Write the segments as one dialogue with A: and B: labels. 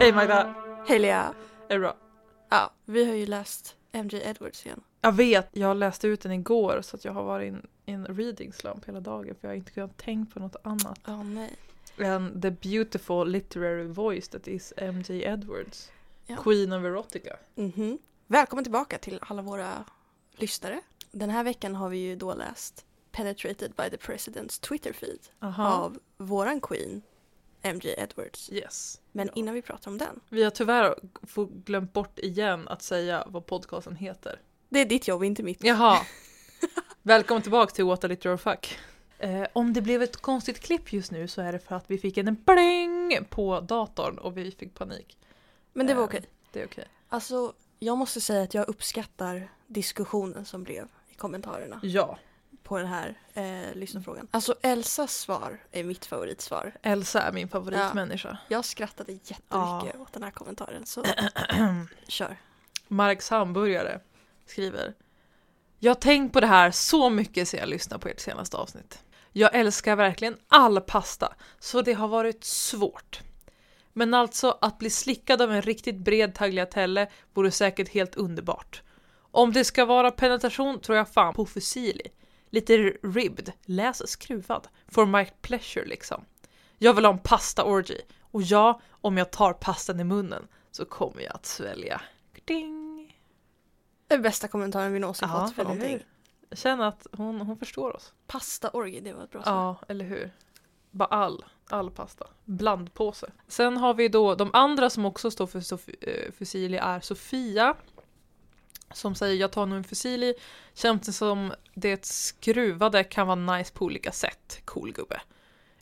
A: Hej Magda!
B: Hej Lea!
A: Är det bra?
B: Ja, vi har ju läst MJ Edwards igen.
A: Jag vet, jag läste ut den igår så att jag har varit in- i en reading slump hela dagen för jag har inte kunnat tänka på något annat
B: Åh nej.
A: än the beautiful literary voice that is MJ Edwards.
B: Ja.
A: Queen of Erotica.
B: Mhm. Välkommen tillbaka till alla våra lyssnare. Den här veckan har vi ju då läst Penetrated by the President's Twitter feed
A: Aha.
B: av våran queen MJ Edwards.
A: Yes.
B: Men
A: Ja.
B: innan vi pratar om den,
A: Vi har tyvärr få- glömt bort igen att säga vad podcasten heter.
B: det är ditt jobb, inte mitt.
A: Jaha. Välkommen tillbaka till What a Literal Fuck. Eh, om det blev ett konstigt klipp just nu så är det för att vi fick en bling på datorn och vi fick panik.
B: Men det var
A: Eh,
B: okej.
A: Det är okej.
B: Alltså, jag måste säga att jag uppskattar diskussionen som blev i kommentarerna
A: Ja.
B: på den här eh,
A: Mm.
B: lyssnarfrågan. Alltså Elsas svar är mitt favoritsvar.
A: Elsa är min favoritmänniska.
B: Jag skrattade jättemycket åt den här kommentaren så kör.
A: Marks hamburgare skriver Jag har tänkt på det här så mycket sedan jag lyssnade på ert senaste avsnitt. Jag älskar verkligen all pasta, så det har varit svårt. Men alltså, att bli slickad av en riktigt bred tagliatelle vore säkert helt underbart. Om det ska vara penetration tror jag fan på fusilli. Lite ribbed, läs skruvad. For my pleasure liksom. Jag vill ha en pasta-orgy. Och ja, om jag tar pastan i munnen så kommer jag att svälja. Ding!
B: Den bästa kommentaren vi någonsin
A: Ja,
B: fått för
A: eller hur?
B: någonting.
A: Jag känner att hon, hon förstår oss.
B: Pasta orgi, det var ett bra svar.
A: Ja, eller hur? Bara all, all pasta. Blandpåse. Sen har vi då de andra som också står för Sof- eh, Fusili är Sofia. Som säger jag tar nog en Fusili. Känns det som det skruvade kan vara nice på olika sätt. Cool gubbe.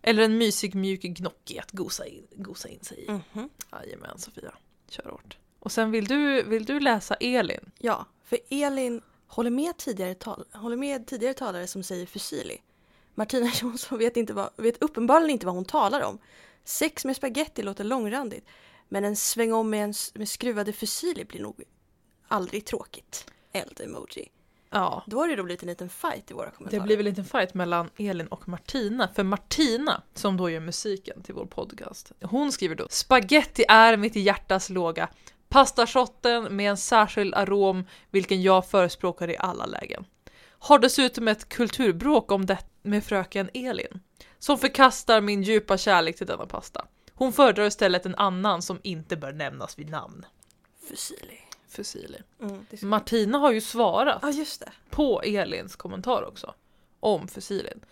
A: Eller en mysig mjuk gnocchi att gosa in, gosa in sig i.
B: Mhm.
A: Jajamän Sofia, kör hårt. Och sen vill du, vill du läsa Elin?
B: Ja, för Elin håller med tidigare, tal- håller med tidigare talare som säger fusili. Martina Jonsson vet, inte vad, vet uppenbarligen inte vad hon talar om. Sex med spaghetti låter långrandigt. Men en sväng om med, en, s- med skruvade fusili blir nog aldrig tråkigt. Eld-emoji.
A: Ja.
B: Då har det då blivit en liten fight i våra
A: Det
B: kommentarer.
A: blir väl en liten fight mellan Elin och Martina. För Martina, som då gör musiken till vår podcast, hon skriver då Spaghetti är mitt hjärtas låga. Pastashotten med en särskild arom, vilken jag förespråkar i alla lägen. Har dessutom ett kulturbråk om det med fröken Elin, som förkastar min djupa kärlek till denna pasta. Hon föredrar istället en annan som inte bör nämnas vid namn.
B: Fusili.
A: Fusili.
B: Mm, det är så-
A: Martina har ju svarat
B: Ja, just det.
A: på Elins kommentar också om fusilin.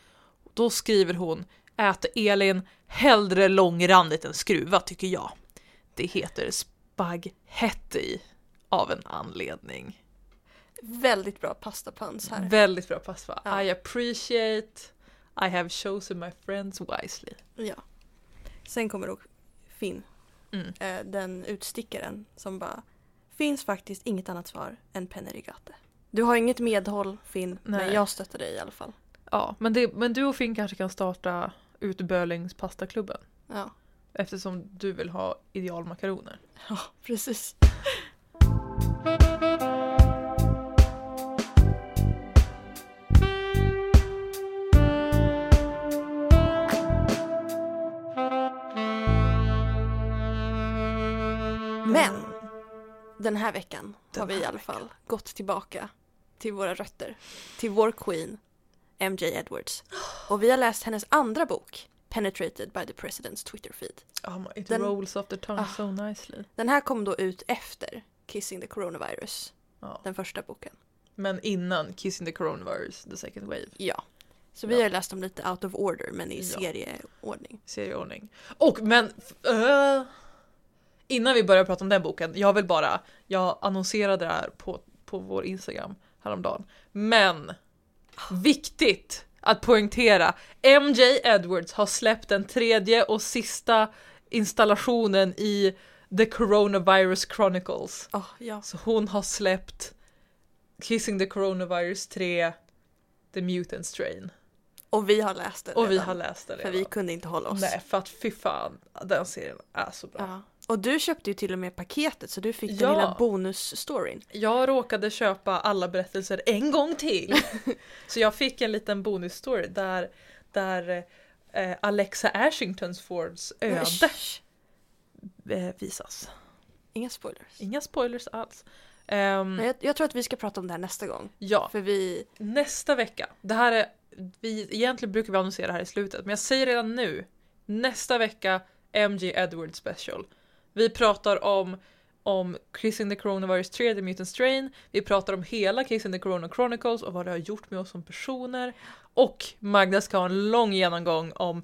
A: Då skriver hon Ät Elin hellre långrandigt än skruva tycker jag. Det heter spaghetti av en anledning.
B: Väldigt bra pastapans här.
A: Väldigt bra passva.
B: Ja.
A: I appreciate I have chosen my friends wisely.
B: ja. Sen kommer då Finn.
A: Mm.
B: Eh, den utstickaren som bara Finns faktiskt inget annat svar än pennerigate. Du har inget medhåll Finn, men
A: Nej.
B: jag stöttar dig i alla fall.
A: Ja, men, det, men du och Finn kanske kan starta Utbölings pastaklubben
B: Ja,
A: eftersom du vill ha idealmakaroner.
B: ja precis. Men den här veckan
A: Den
B: har vi
A: här
B: i alla fall gått tillbaka till våra rötter. Till vår queen, MJ Edwards. Och vi har läst hennes andra bok, Penetrated by the President's Twitter feed.
A: Oh my, it
B: Den-
A: rolls off the tongue
B: Ah.
A: so nicely.
B: Den här kom då ut efter Kissing the Coronavirus,
A: Ja.
B: den första boken.
A: Men innan Kissing the Coronavirus, the second wave.
B: Ja. Så vi
A: Ja.
B: har läst dem lite out of order men i
A: Ja.
B: serieordning.
A: serieordning. Och men... f- eh, innan vi börjar prata om den boken, jag vill bara... Jag annonserade det här på, på vår Instagram häromdagen. Men! Viktigt att poängtera. MJ Edwards har släppt den tredje och sista installationen i The Coronavirus Chronicles.
B: Ja, ja.
A: Så hon har släppt Kissing the Coronavirus 3, The Mutant Strain.
B: Och vi har läst den
A: Och vi
B: redan,
A: har läst det
B: För vi kunde inte hålla oss.
A: Nej, för att fy fan, den serien är så bra.
B: Ja. Och du köpte ju till och med paketet så du fick
A: Ja.
B: den lilla bonusstoryn.
A: Jag råkade köpa alla berättelser en gång till. så jag fick en liten bonusstory där, där eh, Alexa Ashington Fords öde
B: Usch.
A: eh, visas.
B: Inga spoilers.
A: Inga spoilers alls. Ehm,
B: Men jag, jag tror att vi ska prata om det här nästa gång.
A: ja,
B: För vi...
A: nästa vecka. Det här är, vi, egentligen brukar vi annonsera det här i slutet, men jag säger redan nu. Nästa vecka, MG Edwards special. Vi pratar om, om Kissing the Coronavirus 3, The Mutant Strain. Vi pratar om hela Kissing the Corona Chronicles och vad det har gjort med oss som personer. Och Magda ska ha en lång genomgång om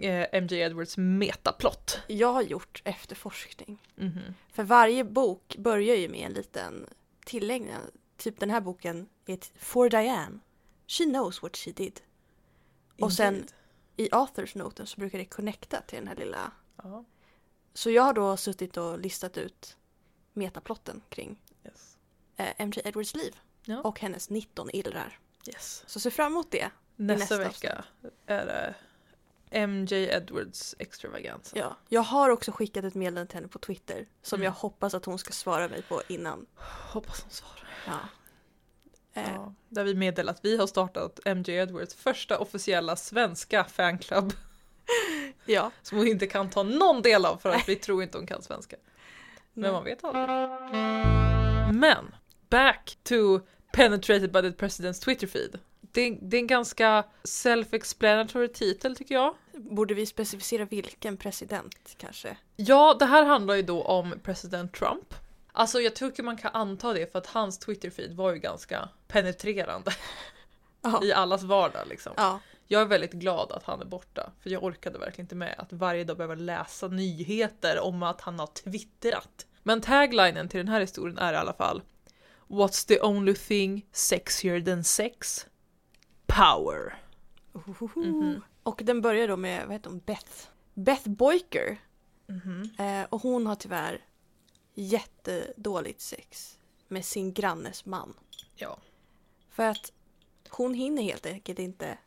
A: eh, MG Edwards metaplott.
B: Jag har gjort efterforskning.
A: Mhm.
B: För varje bok börjar ju med en liten tillägnad. Typ den här boken är t- For Diane. She knows what she did. Och sen-
A: Indeed.
B: I Authors-noten så brukar det connecta till den här lilla.
A: Ja,
B: Så jag har då suttit och listat ut metaplotten kring
A: yes.
B: eh, MJ Edwards liv.
A: Ja.
B: Och hennes 19 illrar.
A: Yes.
B: Så se fram emot det.
A: Nästa,
B: nästa
A: vecka är det MJ Edwards extravaganza.
B: Ja. Jag har också skickat ett meddelande till henne på Twitter. Som
A: Mm.
B: jag hoppas att hon ska svara mig på innan.
A: Hoppas hon svarar.
B: Ja. Eh,
A: Ja, där vi meddelar att vi har startat MJ Edwards första officiella svenska fanclub
B: ja.
A: som hon inte kan ta någon del av för att vi tror inte hon kan svenska. Men man vet aldrig. Men back to penetrated by the president's Twitter feed. Det är, det är en ganska self-explanatory titel tycker jag.
B: Borde vi specificera vilken president kanske?
A: Ja, det här handlar ju då om president Trump. Alltså jag tycker man kan anta det för att hans Twitterfeed var ju ganska penetrerande
B: Ja.
A: i allas vardag liksom.
B: Ja.
A: Jag är väldigt glad att han är borta för jag orkade verkligen inte med att varje dag behöva läsa nyheter om att han har twittrat. Men taglinen till den här historien är i alla fall What's the only thing sexier than sex? Power. Mhm.
B: Och den börjar då med, vad heter hon, Beth? Beth Boyker.
A: Mhm.
B: Eh, och hon har tyvärr jättedåligt sex med sin grannes man.
A: Ja.
B: För att hon hinner helt enkelt inte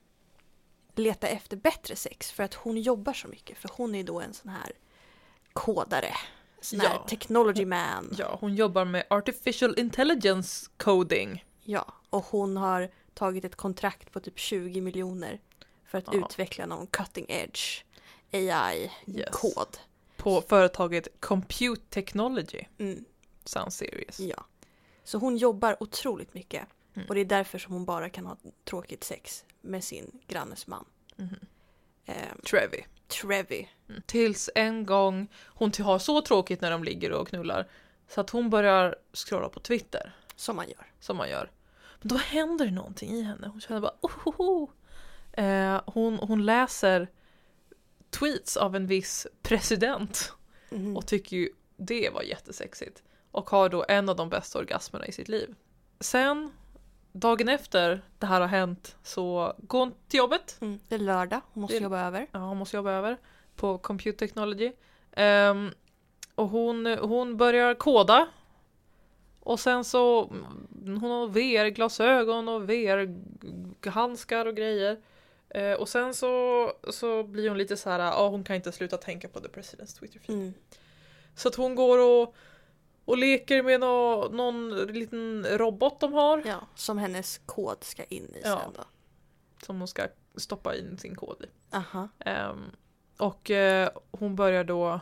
B: leta efter bättre sex för att hon jobbar så mycket. För hon är då en sån här kodare. Sån här
A: Ja.
B: technology man.
A: ja, hon jobbar med artificial intelligence coding.
B: Ja, och hon har tagit ett kontrakt på typ 20 miljoner för att
A: Ja.
B: utveckla någon cutting edge
A: Yes.
B: AI-kod.
A: på företaget Compute Technology.
B: Mm,
A: Sounds serious.
B: ja. Så hon jobbar otroligt mycket
A: Mm.
B: och det är därför som hon bara kan ha tråkigt sex med sin grannes man.
A: Mhm.
B: Eh,
A: Trevi.
B: Trevi.
A: Mm. Tills en gång hon ty- har så tråkigt när de ligger och knullar så att hon börjar scrolla på Twitter,
B: Som man gör.
A: som man gör. Men då händer det någonting i henne. Hon känner bara ohoho. Eh, hon, hon läser tweets av en viss president
B: Mhm.
A: och tycker ju det var jättesexigt. Och har då en av de bästa orgasmerna i sitt liv. Sen, dagen efter det här har hänt, så går hon till jobbet.
B: Mm. Det är lördag, hon måste
A: Det är-
B: jobba över.
A: Ja, hon måste jobba över på Compute Technology. Ehm, och hon, hon börjar koda. Och sen så, mm, hon har VR-glasögon och VR-handskar och grejer. Eh, och sen så, så blir hon lite så här, ja hon kan inte sluta tänka på The President's Twitter feed.
B: Mm.
A: Så att hon går och, och leker med nå, någon liten robot de har.
B: Ja, som hennes kod ska in i
A: Ja.
B: sen då.
A: Som hon ska stoppa in sin kod i.
B: Aha.
A: Ehm, och eh, hon börjar då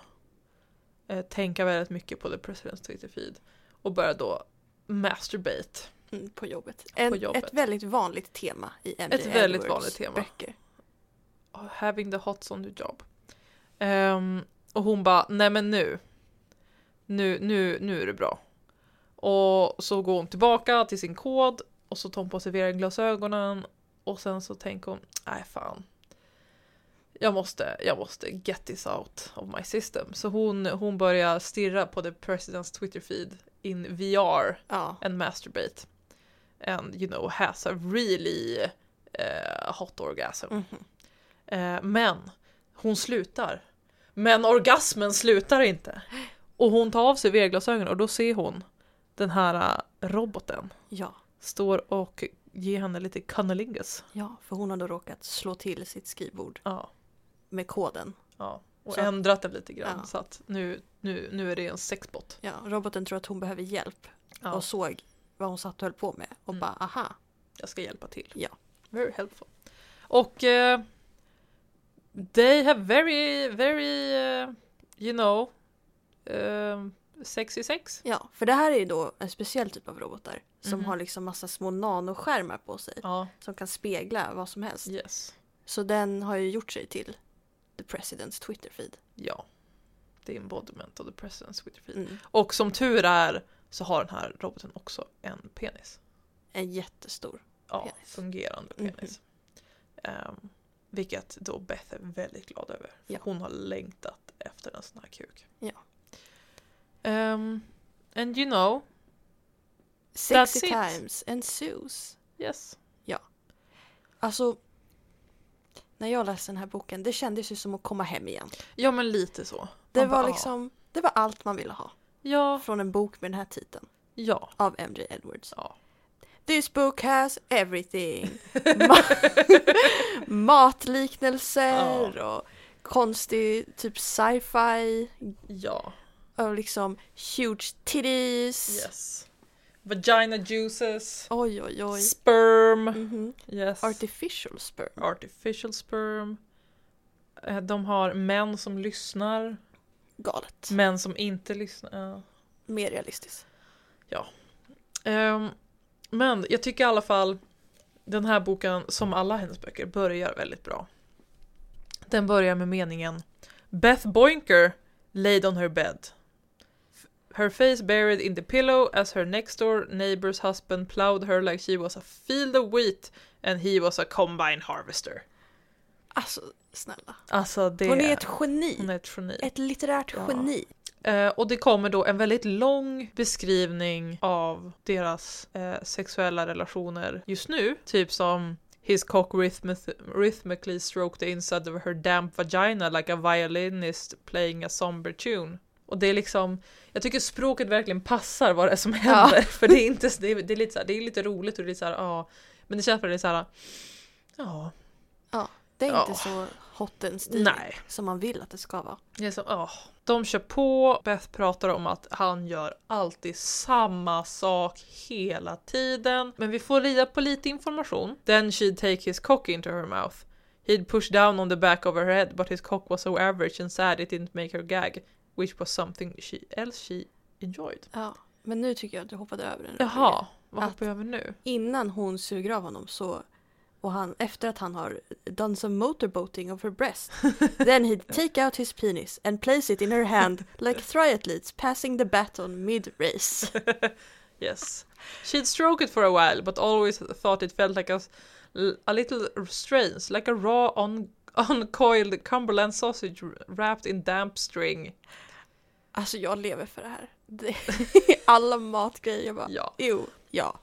A: eh, tänka väldigt mycket på The President's Twitter feed. Och börjar då masturbate.
B: Mm, på jobbet. En,
A: jobbet.
B: Ett väldigt vanligt tema i MJ
A: Ett väldigt
B: Edwards
A: vanligt tema.
B: böcker.
A: Having the hots on the job. Ehm, och hon bara, nej men nu. Nu, nu, nu är det bra. Och så går hon tillbaka till sin kod och så tar hon på sig VR-glasögonen och sen så tänker hon, nej fan. Jag måste, jag måste get this out of my system. Så hon, hon börjar stirra på the president's Twitter feed in VR
B: Ja.
A: and masturbate. And you know has a really eh, hot orgasm.
B: Mhm.
A: Eh, men hon slutar. Men orgasmen slutar inte. Och hon tar av sig VR-glasögonen och då ser hon den här eh, roboten
B: Ja.
A: står och ger henne lite cunnilingus.
B: Ja, för hon har då råkat slå till sitt skrivbord
A: Ja,
B: med koden.
A: ja. Och
B: Så-
A: ändrat den lite grann
B: Ja.
A: så att nu, nu, nu är det en sexbot.
B: Ja, roboten tror att hon behöver hjälp
A: Ja.
B: och såg vad hon satt och höll på med och
A: Mm.
B: bara aha.
A: jag ska hjälpa till.
B: Ja.
A: Very helpful. Och eh, they have very, very, eh, you know, eh, sex i sex.
B: Ja, för det här är ju då en speciell typ av robotar som
A: Mhm.
B: har liksom massa små nanoskärmar på sig
A: Ja,
B: som kan spegla vad som helst.
A: yes.
B: Så den har ju gjort sig till the presidents Twitter-feed.
A: Ja. Det är embodiment of the president's Twitter feed.
B: Mm.
A: Och som tur är så har den här roboten också en penis.
B: En jättestor.
A: Ja,
B: Penis.
A: fungerande
B: Mhm.
A: penis. Ehm, vilket då Beth är väldigt glad över. För
B: Ja.
A: Hon har längtat efter en sån här kuk.
B: Ja.
A: Ehm, and you know,
B: Sexy
A: it.
B: times ensues.
A: yes.
B: Alltså, när jag läste den här boken, det kändes ju som att komma hem igen.
A: Ja men lite så.
B: Det
A: Man bara,
B: var liksom, det var allt man ville ha
A: Ja,
B: från en bok med den här titeln
A: ja.
B: av MJ Edwards.
A: Ja.
B: This book has everything. Ma matliknelser och konstig typ sci-fi
A: Ja,
B: och liksom huge titties.
A: yes. Vagina juices.
B: Oj, oj, oj.
A: Sperm.
B: Mhm.
A: Yes.
B: Artificial sperm.
A: Artificial sperm. Eh, De har män som lyssnar.
B: Galet.
A: Män som inte lyssnar. Ja.
B: Mer realistiskt.
A: Ehm, men jag tycker i alla fall den här boken, som alla hennes böcker, börjar väldigt bra. Den börjar med meningen Beth Boinker laid on her bed. Her face buried in the pillow as her next door neighbor's husband plowed her like she was a field of wheat and he was a combine harvester.
B: Alltså, snälla.
A: Alltså det...
B: Hon är ett geni.
A: hon är ett geni.
B: Ett litterärt
A: Ja.
B: geni.
A: Eh, och det kommer då en väldigt lång beskrivning av deras eh, sexuella relationer just nu. Typ som His cock rhythmith- rhythmically stroked the inside of her damp vagina like a violinist playing a somber tune. Och det är liksom, jag tycker språket verkligen passar vad det är som händer. För det är, inte, det är, det är, lite, så här, det är lite roligt och det är lite såhär, ja. Men det känns bara lite såhär, ja.
B: Det är
A: Ja.
B: inte så hot and steamy
A: Nej.
B: som man vill att det ska vara.
A: Det är som, åh. De kör på, Beth pratar om att han gör alltid samma sak hela tiden. Men vi får rida på lite information. Then she'd take his cock into her mouth. He'd push down on the back of her head but his cock was so average and sad it didn't make her gag. Which was something she, else she enjoyed.
B: Ja. Men nu tycker jag att du hoppade över en
A: Jaha, vad
B: Att-
A: hoppar jag över nu?
B: innan hon suger av honom så och han, efter att han har done some motorboating of her breast then he'd take out his penis and place it in her hand like triathletes passing the baton mid-race.
A: Yes. She'd stroke it for a while, but always thought it felt like a, a little strange, like a raw, un, uncoiled Cumberland sausage wrapped in damp string.
B: Alltså jag lever för det här. Det, alla matgrejer, jag bara
A: Ja.
B: jo, ja.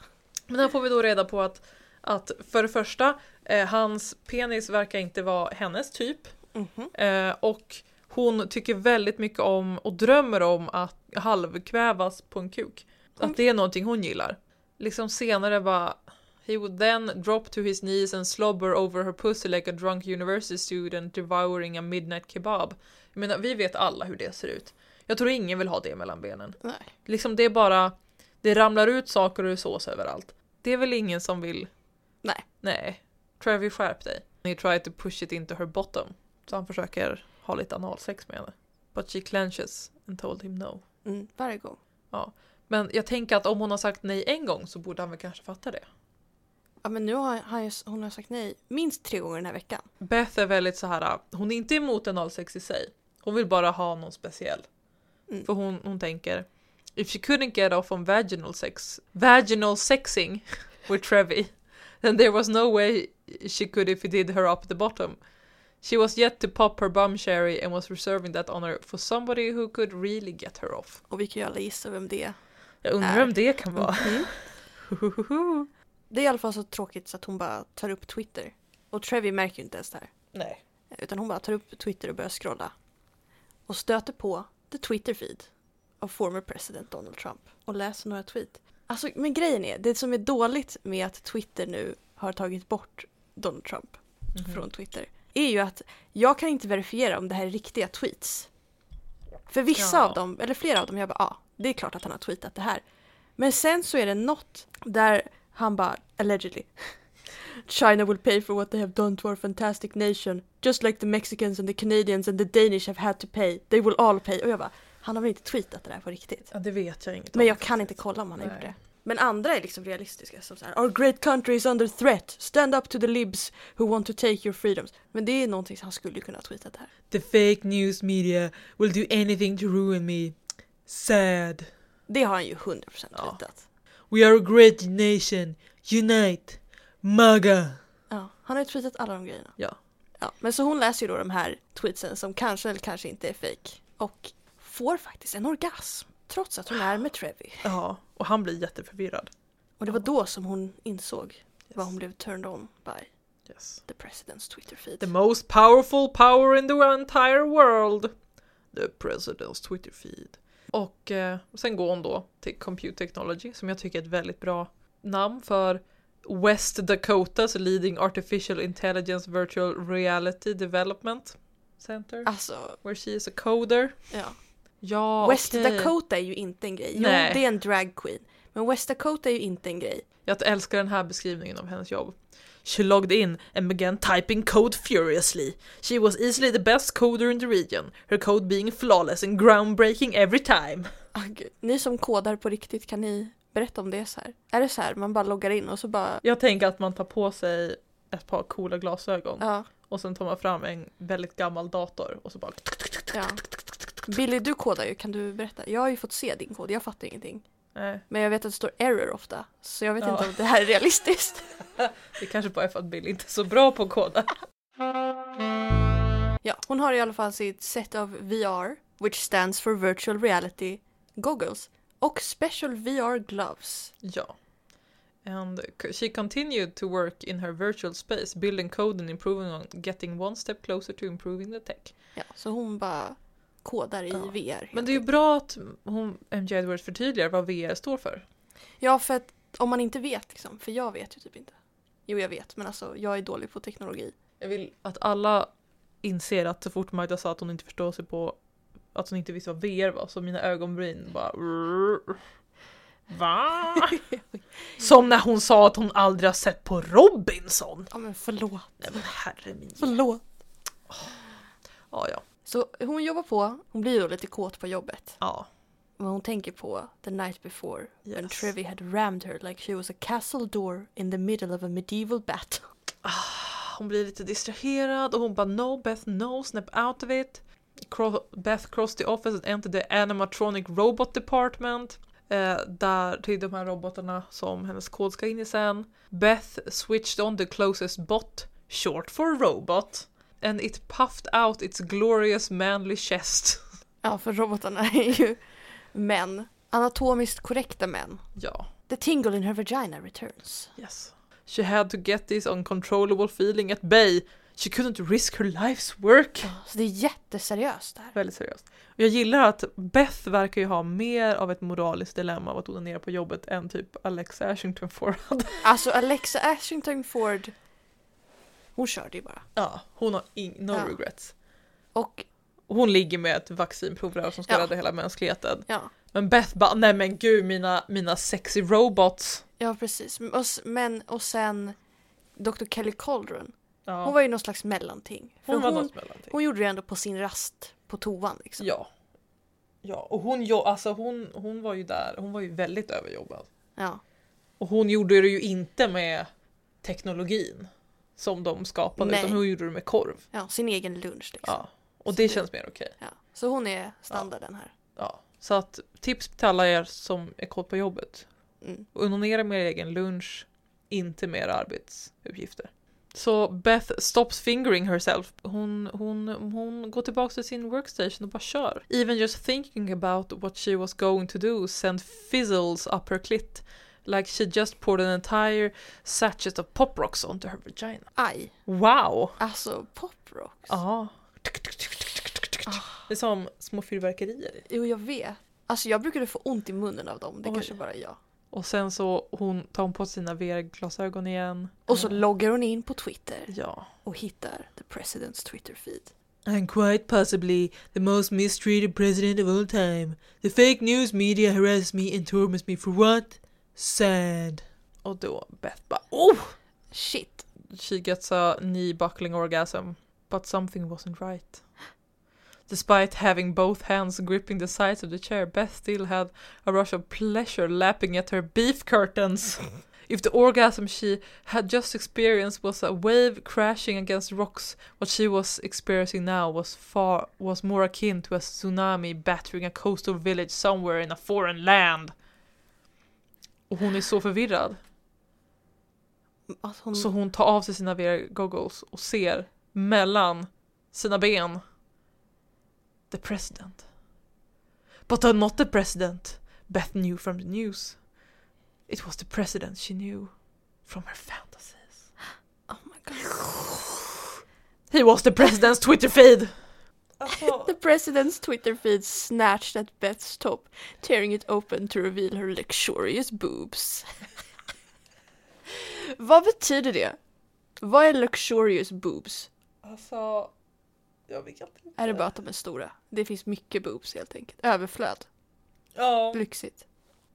A: Men här får vi då reda på att, att för det första, eh, hans penis verkar inte vara hennes typ.
B: Mhm.
A: Eh, och hon tycker väldigt mycket om och drömmer om att halvkvävas på en kuk.
B: Mm.
A: Att det är någonting hon gillar. Liksom senare bara... He would then drop to his knees and slobber over her pussy like a drunk university student devouring a midnight kebab. Jag menar, vi vet alla hur det ser ut. Jag tror ingen vill ha det mellan benen.
B: Nej.
A: Liksom det är bara... Det ramlar ut saker ur sås överallt. Det är väl ingen som vill...
B: Nej.
A: Nej. Trevi skärp dig. He tried to push it into her bottom. Så han försöker ha lite analsex med henne. But she clenches and told him no.
B: Mm, varje gång.
A: Men jag tänker att om hon har sagt nej en gång så borde han väl kanske fatta det.
B: Ja men nu har han ju, hon har sagt nej minst tre gånger den här veckan.
A: Beth är väldigt så här. hon är inte emot analsex i sig. Hon vill bara ha någon speciell.
B: Mm.
A: För hon, hon tänker If she couldn't get off on vaginal sex, vaginal sexing with Trevi, then there was no way she could if he did her up the bottom. She was yet to pop her bum sherry and was reserving that honor for somebody who could really get her off.
B: Och vi kan ju alla gissa vem det är.
A: Jag undrar
B: Är.
A: vem det kan vara.
B: Mhm. Det är i alla fall så tråkigt så att hon bara tar upp Twitter. Och Trevi märker ju inte ens det här.
A: Nej.
B: Utan hon bara tar upp Twitter och börjar scrolla. Och stöter på the Twitter feed av former president Donald Trump. Och läser några tweet. Alltså, men grejen är, det som är dåligt med att Twitter nu har tagit bort Donald Trump
A: Mhm.
B: från Twitter. Är ju att jag kan inte verifiera om det här är riktiga tweets. För vissa
A: Ja.
B: av dem, eller flera av dem, jag bara ja, ah, det är klart att han har tweetat det här. Men sen så är det något där han bara, allegedly, China will pay for what they have done to our fantastic nation. Just like the Mexicans and the Canadians and the Danish have had to pay. They will all pay. Och jag bara, Han har väl inte tweetat det där på riktigt?
A: Ja, det vet jag inget
B: Men
A: om,
B: jag kan inte
A: faktiskt.
B: kolla om han har
A: Nej.
B: gjort det. Men andra är liksom realistiska som så här, Our great country is under threat. Stand up to the libs who want to take your freedoms. Men det är någonting som han skulle kunna ha tweetat här.
A: The fake news media will do anything to ruin me. Sad.
B: Det har han ju 100%
A: Ja.
B: tweetat.
A: We are a great nation. Unite. MAGA.
B: Ja, han har ju tweetat alla de grejerna.
A: Ja.
B: Ja, men så hon läser ju då de här tweetsen som kanske eller kanske inte är fake. Och får faktiskt en orgasm. Trots att hon är med Trevi.
A: Ja, och han blir jätteförvirrad.
B: Och det var då som hon insåg vad hon
A: Yes.
B: blev turned on by
A: Yes.
B: the president's
A: The
B: Twitter feed.
A: most powerful power in the entire world. The president's Twitter feed. Och eh, sen går hon då till Compute Technology som jag tycker är ett väldigt bra namn för West Dakotas Leading Artificial Intelligence Virtual Reality Development Center.
B: Alltså,
A: Where she is a coder.
B: ja.
A: Ja,
B: West
A: okej.
B: Dakota är ju inte en grej. Jo,
A: Nej.
B: det är en drag queen. Men West Dakota är ju inte en grej.
A: Jag älskar den här beskrivningen av hennes jobb. She logged in and began typing code furiously. She was easily the best coder in the region, her code being flawless and groundbreaking every time.
B: Ah, gud. Ni som kodar på riktigt, kan ni berätta om det så här? Är det så här, man bara loggar in och så bara...
A: Jag tänker att man tar på sig ett par coola glasögon
B: Ja,
A: och sen tar man fram en väldigt gammal dator och så bara...
B: ja. Billy, du kodar ju. Kan du berätta? Jag har ju fått se din kod, jag fattar ingenting.
A: Nej,
B: Men jag vet att det står error ofta, så jag vet
A: Ja.
B: inte om det här är realistiskt.
A: det kanske bara är för att Bill inte är så bra på att koda.
B: Ja, hon har i alla fall sitt set av VR, which stands for virtual reality goggles, och special VR gloves.
A: Ja. And she continued to work in her virtual space, building code and improving on getting one step closer to improving the tech.
B: Ja, så hon bara kodar i
A: Ja.
B: VR. helt
A: Men det är ju
B: enkelt.
A: bra att hon, MJ Edwards förtydligar vad VR står för.
B: Ja, för att om man inte vet liksom, för jag vet ju typ inte. Jo, jag vet, men alltså jag är dålig på teknologi.
A: Jag vill att alla inser att så fort Magda sa att hon inte förstår sig på att hon inte visste vad VR var så mina ögonbryn bara Va? Som när hon sa att hon aldrig har sett på Robinson.
B: Ja, men förlåt.
A: Nej men herre min.
B: Förlåt.
A: Ja ja.
B: Så hon jobbar på, hon blir ju då lite kåt på jobbet.
A: ja.
B: Men hon tänker på the night before when
A: Yes.
B: Trevi had rammed her like she was a castle door in the middle of a medieval battle.
A: Hon blir lite distraherad och hon bara no Beth no snap out of it. Cro- Beth crossed the office and entered the animatronic robot department. Eh, där till de här robotarna som hennes kod ska in i sen. Beth switched on the closest bot, short for robot. And it puffed out its glorious manly chest.
B: Ja, för robotarna är ju män. Anatomiskt korrekta män.
A: ja,
B: The tingle in her vagina returns.
A: yes. She had to get this uncontrollable feeling at bay. She couldn't risk her life's work.
B: Så det är jätteseriöst det här.
A: Väldigt seriöst. Och jag gillar att Beth verkar ju ha mer av ett moraliskt dilemma av att onanera på jobbet än typ Alexa Ashington Ford.
B: Alltså Alexa Ashington Ford, hon körde ju bara.
A: Ja, hon har ing- no
B: Ja.
A: regrets.
B: Och
A: Hon ligger med ett vaccinprovrör som ska
B: Ja.
A: rädda hela mänskligheten.
B: ja,
A: Men Beth bara, nej men gud mina, mina sexy robots.
B: ja precis. Och, s- men, och sen Dr. Kelly Calderon.
A: Ja,
B: Hon var ju någon slags mellanting. För
A: hon var
B: hon,
A: något
B: hon,
A: mellanting.
B: gjorde det ändå på sin rast på toan liksom. Ja.
A: Ja. Ja, och hon, jo- alltså hon, hon var ju där, hon var ju väldigt överjobbad. Och hon gjorde det ju inte med teknologin som de skapade,
B: Nej.
A: utan hon gjorde det med korv.
B: Ja, sin egen lunch liksom. Ja.
A: Ja, och det känns mer okej.
B: Så hon är standarden här.
A: Ja. Så att tips till alla er som är kåt på jobbet.
B: Mm.
A: Onanera med er egen lunch, inte med era arbetsuppgifter. Så Beth stops fingering herself. Hon, hon, hon går tillbaka till sin workstation och bara kör. Even just thinking about what she was going to do sent fizzles up her clit. Like she just poured an entire sachet of pop rocks onto her vagina.
B: Aj,
A: Wow! Ah.
B: alltså poprocks.
A: Ja. Det är som små fyrverkerier.
B: Jo, jag vet. Alltså jag brukade få ont i munnen av dem. Det
A: Oj.
B: kanske bara är jag.
A: Och sen så hon tar hon på sig sina VR-glasögon igen.
B: Och så
A: Mm.
B: loggar hon in på Twitter
A: Ja.
B: och hittar the president's Twitter feed.
A: And quite possibly the most mistreated president of all time. The fake news media harassed me and torments me for what? Sad. Och då Beth bara oh!
B: Shit.
A: She gets a knee buckling orgasm. But something wasn't right. Despite having both hands gripping the sides of the chair, Beth still had a rush of pleasure lapping at her beef curtains. If the orgasm she had just experienced was a wave crashing against rocks, what she was experiencing now was far was more akin to a tsunami battering a coastal village somewhere in a foreign land. Och hon är så förvirrad.
B: Att Alltså, hon...
A: Så hon tar av sig sina VR-goggles och ser mellan sina ben the president. But uh, not the president Beth knew from the news. It was the president she knew from her fantasies.
B: Oh my god.
A: He was the president's Twitter feed! Alltså,
B: The president's Twitter feed snatched at Beth's top, tearing it open to reveal her luxurious boobs. Vad betyder det? Vad är luxurious boobs?
A: alltså, jag vet inte.
B: Är det bara att de är stora? Det finns mycket boobs helt enkelt. Överflöd.
A: Ja.
B: Lyxigt.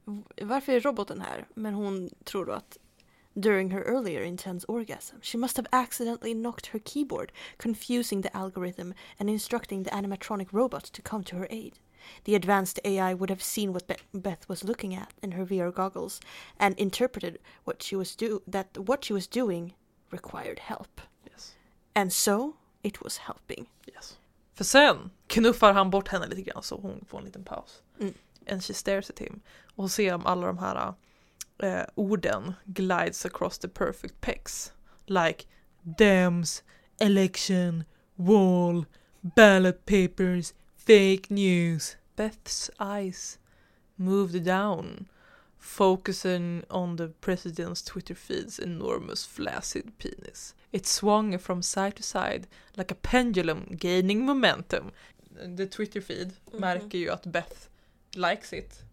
B: V- Varför är roboten här? Men hon tror då att During her earlier intense orgasm, she must have accidentally knocked her keyboard, confusing the algorithm and instructing the animatronic robot to come to her aid. The advanced AI would have seen what Be- Beth was looking at in her VR goggles and interpreted what she was do that what she was doing required help.
A: Yes.
B: And so it was helping.
A: Yes. För sen knuffar han bort henne lite grann så hon får en liten paus.
B: Mm.
A: And she stares at him. Och ser om alla de här eh, orden glides across the perfect pecs. Like dams, election, wall, ballot papers, fake news. Beth's eyes moved down. Focusing on the president's Twitter feed's enormous flaccid penis. It swung from side to side like a pendulum gaining momentum. The Twitter feed
B: Mhm.
A: märker ju att Beth likes it.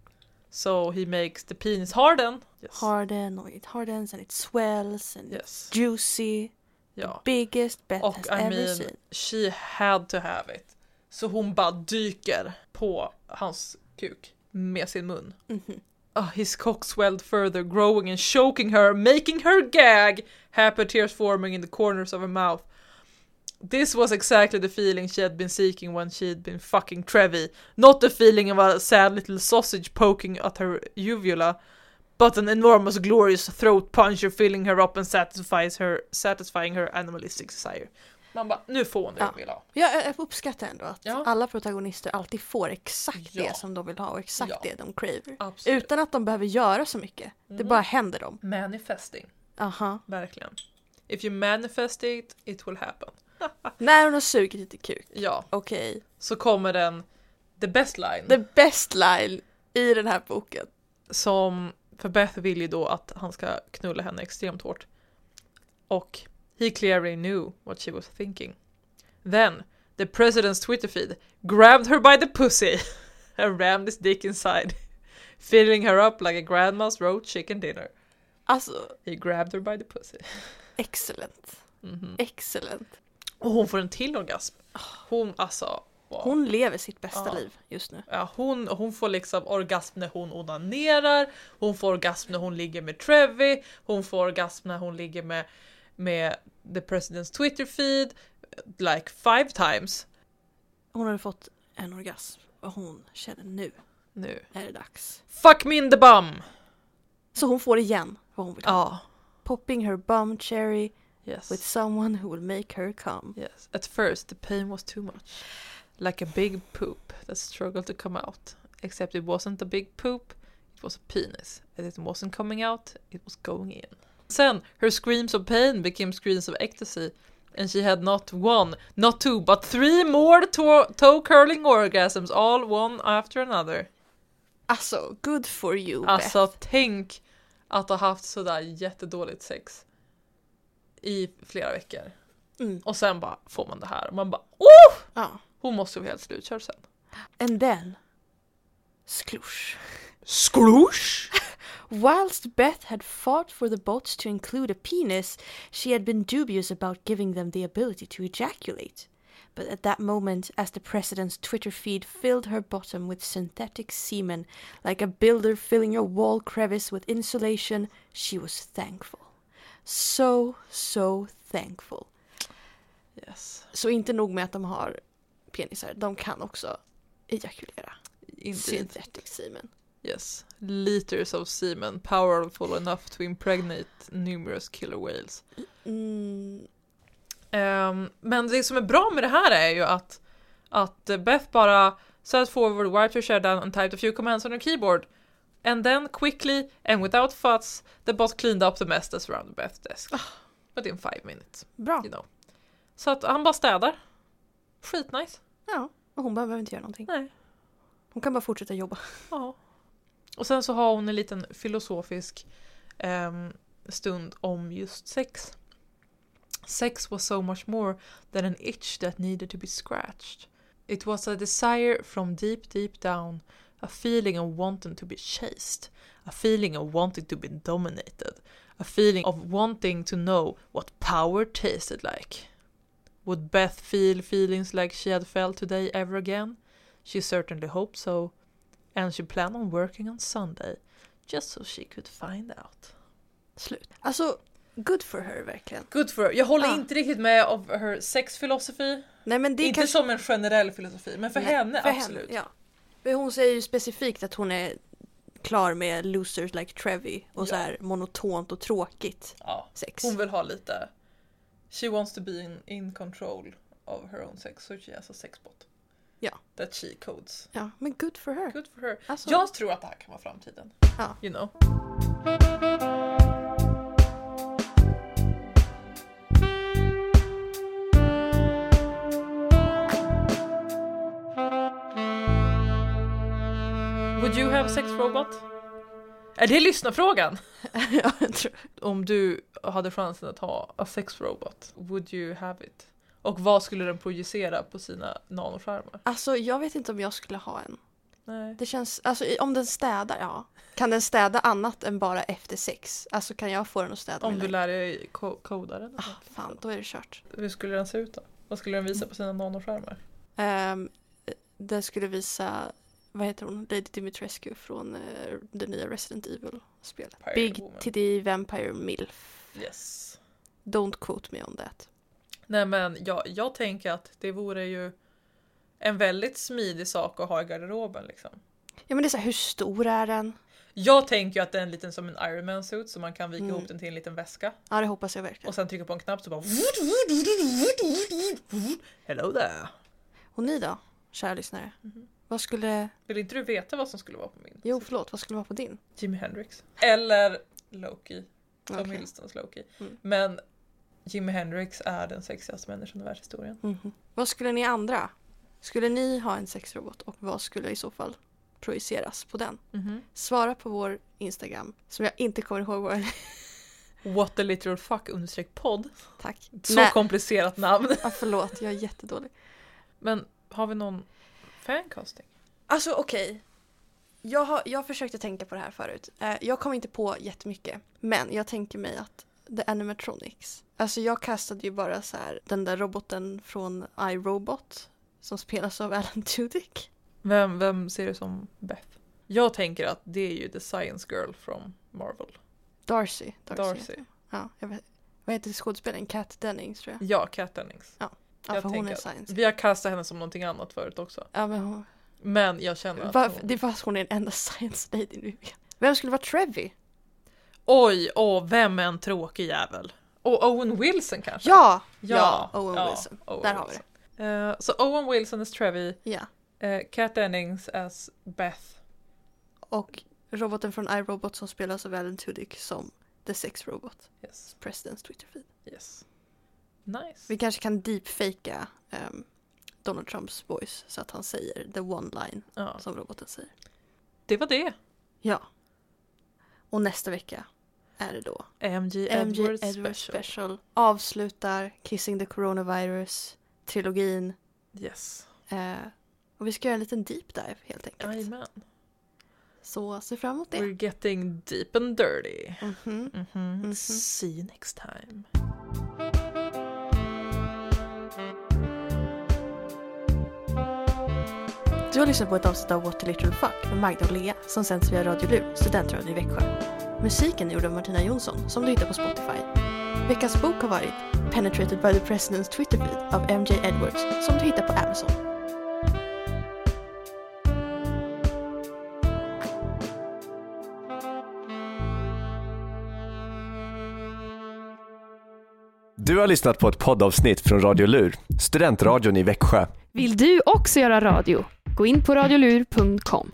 A: So he makes the penis harden. Yes.
B: Harden, or it hardens and it swells and
A: yes.
B: juicy.
A: Ja.
B: Biggest Beth
A: Och
B: has
A: I
B: ever
A: mean,
B: seen.
A: she had to have it. Så hon bara dyker på hans kuk med sin mun.
B: Mhm.
A: Ah, his cock swelled further, growing and choking her, making her gag, happy tears forming in the corners of her mouth. This was exactly the feeling she had been seeking when she'd been fucking Trevi. Not the feeling of a sad little sausage poking at her uvula, but an enormous glorious throat puncher filling her up and satisfies her, satisfying her animalistic desire. Man bara, nu får hon det hon
B: Ja.
A: vill ha.
B: Ja, jag uppskattar ändå att
A: Ja.
B: alla protagonister alltid får exakt
A: Ja.
B: det som de vill ha och exakt
A: Ja.
B: det de craver.
A: Absolut.
B: Utan att de behöver göra så mycket. Det
A: Mm.
B: bara händer dem.
A: Manifesting,
B: Aha.
A: verkligen. If you manifest it, it will happen.
B: När hon har sugit lite kuk.
A: Ja.
B: Okej.
A: så kommer den the best line
B: The best line i den här boken.
A: som för Beth vill ju då att han ska knulla henne extremt hårt. Och he clearly knew what she was thinking. Then the president's Twitter feed grabbed her by the pussy and rammed his dick inside. Filling her up like a grandma's roast chicken dinner.
B: Alltså,
A: He grabbed her by the pussy.
B: excellent.
A: Mhm.
B: Excellent.
A: Och hon får en till orgasm. Hon alltså. Wow.
B: Hon lever sitt bästa
A: Ja.
B: liv just nu.
A: Ja, hon, hon får liksom orgasm när hon onanerar, hon får orgasm när hon ligger med Trevi, hon får orgasm när hon ligger med, med the president's Twitter feed, like five times.
B: Hon har fått en orgasm och hon känner nu
A: Nu.
B: är det dags.
A: Fuck me in the bum!
B: Så hon får igen vad hon vill ha.
A: Ja.
B: Popping her bum cherry
A: Yes.
B: with someone who will make her come.
A: yes. At first the pain was too much. Like a big poop that struggled to come out. Except it wasn't a big poop, it was a penis. And it wasn't coming out, it was going in. Sen, her screams of pain became screams of ecstasy, and she had not one, not two, but three more to- toe curling orgasms, all one after another.
B: Alltså, good for you
A: Alltså tänk att ha haft sådär jättedåligt sex i flera veckor.
B: Beth. Mm.
A: Och sen bara får man det här och man bara oh!
B: Ja.
A: Hon måste ju vara helt slutkörd sen.
B: And then... Sklush.
A: Sklush!
B: Whilst Beth had fought for the bots to include a penis, she had been dubious about giving them the ability to ejaculate. But at that moment, as the president's Twitter feed filled her bottom with synthetic semen, like a builder filling a wall crevice with insulation, she was thankful. So, so thankful.
A: Yes.
B: Så inte nog med att de har penisar, de kan också ejakulera.
A: Indeed.
B: Synthetic semen.
A: Yes. Liters of semen powerful enough to impregnate numerous killer whales.
B: Mm,
A: Ehm, men det som är bra med det här är ju att, att Beth bara says forward, wiped her chair down and typed a few commands on her keyboard. And then quickly and without fuss the bot cleaned up the mess that surrounded Beth's desk. Within five minutes,
B: bra.
A: you know. Så att han bara städar. Skitnice.
B: Ja, och hon behöver inte göra någonting.
A: Nej.
B: Hon kan bara fortsätta jobba.
A: Ja. Och sen så har hon en liten filosofisk ehm, stund om just sex. Sex was so much more than an itch that needed to be scratched. It was a desire from deep, deep down. A feeling of wanting to be chased. A feeling of wanting to be dominated. A feeling of wanting to know what power tasted like. Would Beth feel feelings like she had felt today ever again? She certainly hoped so. And she planned on working on Sunday just so she could find out.
B: Slut. Alltså, good for her verkligen.
A: Good for her. Jag håller
B: Ah.
A: inte riktigt med om her sex philosophy.
B: Nej men det är
A: Inte
B: kanske...
A: som en generell filosofi, men för
B: Nej,
A: henne
B: för
A: absolut.
B: Henne, ja. Men Hon säger ju specifikt att hon är klar med losers like Trevi och
A: Ja.
B: så här monotont och tråkigt
A: Ja.
B: sex.
A: Hon vill ha lite... She wants to be in, in control of her own sex, so she has a sexbot.
B: Ja.
A: That she codes.
B: Ja, men good for her.
A: Good for her.
B: Alltså,
A: Jag tror att det här kan vara framtiden.
B: Ja.
A: You know. Would you have sex robot? Är det lyssnarfrågan?
B: ja, jag tror.
A: Om du hade chansen att ha a sex robot, would you have it? Och vad skulle den projicera på sina nanoskärmar?
B: alltså jag vet inte om jag skulle ha en.
A: Nej.
B: Det känns, alltså i- om den städar, ja. Kan den städa annat än bara efter sex? Alltså kan jag få den att städa
A: Om
B: min
A: du
B: lägenhet?
A: lär dig ko- koda den?
B: Ah, fan, då är det kört.
A: Hur skulle den se ut då? Vad skulle den visa på sina nanoskärmar?
B: Um, den skulle visa, vad heter hon, Lady Dimitrescu från eh, det nya Resident Evil-spelet.
A: Pirate
B: Big
A: Woman.
B: Titty Vampire Milf.
A: Yes.
B: Don't quote me on that.
A: Nej men jag, jag tänker att det vore ju en väldigt smidig sak att ha i garderoben liksom.
B: Ja men det är så här, hur stor är den?
A: Jag tänker ju att den är liten som en Iron Man suit så man kan vika
B: Mm.
A: ihop den till en liten väska
B: Ja det hoppas jag verkligen.
A: och sen trycka på en knapp så bara Hello there!
B: Och ni då, kära lyssnare? Vad skulle,
A: Vill inte du veta vad som skulle vara på min?
B: Mm-hmm. jo förlåt, vad skulle vara på din?
A: Jimi Hendrix. Eller Loki. Tom
B: Okej.
A: Hiddlestons Loki.
B: Mm.
A: Men Jimi Hendrix är den sexigaste människan i världshistorien.
B: Mhm. Vad skulle ni andra? Skulle ni ha en sexrobot och vad skulle i så fall projiceras på den? Svara på vår Instagram som jag inte kommer ihåg vad den
A: What the literal fuck understreck podd.
B: Tack.
A: Så
B: Nej,
A: komplicerat namn.
B: ja, förlåt, jag är jättedålig.
A: Men har vi någon fancasting?
B: Alltså okej. Jag, har, jag försökte tänka på det här förut. Eh, jag kom inte på jättemycket. Men jag tänker mig att The Animatronics. Alltså jag kastade ju bara så här den där roboten från iRobot. Som spelas av Alan Tudyk.
A: Vem, vem ser du som Beth? Jag tänker att det är ju The Science Girl från Marvel.
B: Darcy.
A: Darcy.
B: heter- Ja, jag vet. Vad heter skådespelaren? Kat Dennings tror jag.
A: Ja, Kat Dennings.
B: Ja,
A: jag
B: för hon
A: tänker
B: är
A: att-
B: science.
A: Vi har kastat henne som någonting annat förut också.
B: Ja, men hon,
A: Men jag känner att
B: varför,
A: hon...
B: det är för att hon är den enda science lady nu. Vem skulle vara Trevi?
A: Oj, åh, vem är en tråkig jävel? Och Owen Wilson kanske?
B: Ja! Owen Wilson.
A: Owen
B: Där har vi det.
A: Wilson. Eh, så Owen Wilson as Trevi,
B: Ja.
A: eh, Kat Dennings as Beth.
B: Och roboten från iRobot som spelas av Alan Tudyk som The Sex Robot.
A: Yes.
B: Presidents Twitterfeed.
A: yes. Nice.
B: Vi kanske kan deepfakea ehm, Donald Trumps voice så att han säger the one line
A: Ja.
B: som roboten säger.
A: Det var det.
B: Ja. Och nästa vecka är det då
A: MG,
B: MJ
A: Edwards
B: Edwards
A: special.
B: special. avslutar Kissing the Coronavirus-trilogin.
A: Yes.
B: Eh, och vi ska göra en liten deep dive helt enkelt.
A: Jajamän.
B: Så se fram emot det.
A: We're getting deep and dirty.
B: Mhm.
A: Mhm.
B: Mhm.
A: See you next time.
B: Du har lyssnat på ett avsnitt av What a Little Fuck med Magda och Lea som sänds via Radio Lur, studentradion i Växjö. Musiken är gjord av Martina Jonsson som du hittar på Spotify. Veckans bok har varit Penetrated by the President's Twitterfeed av MJ Edwards som du hittar på Amazon.
C: Du har lyssnat på ett poddavsnitt från Radio Lur, studentradion i Växjö.
D: Vill du också göra radio? Gå in på radiolur.com.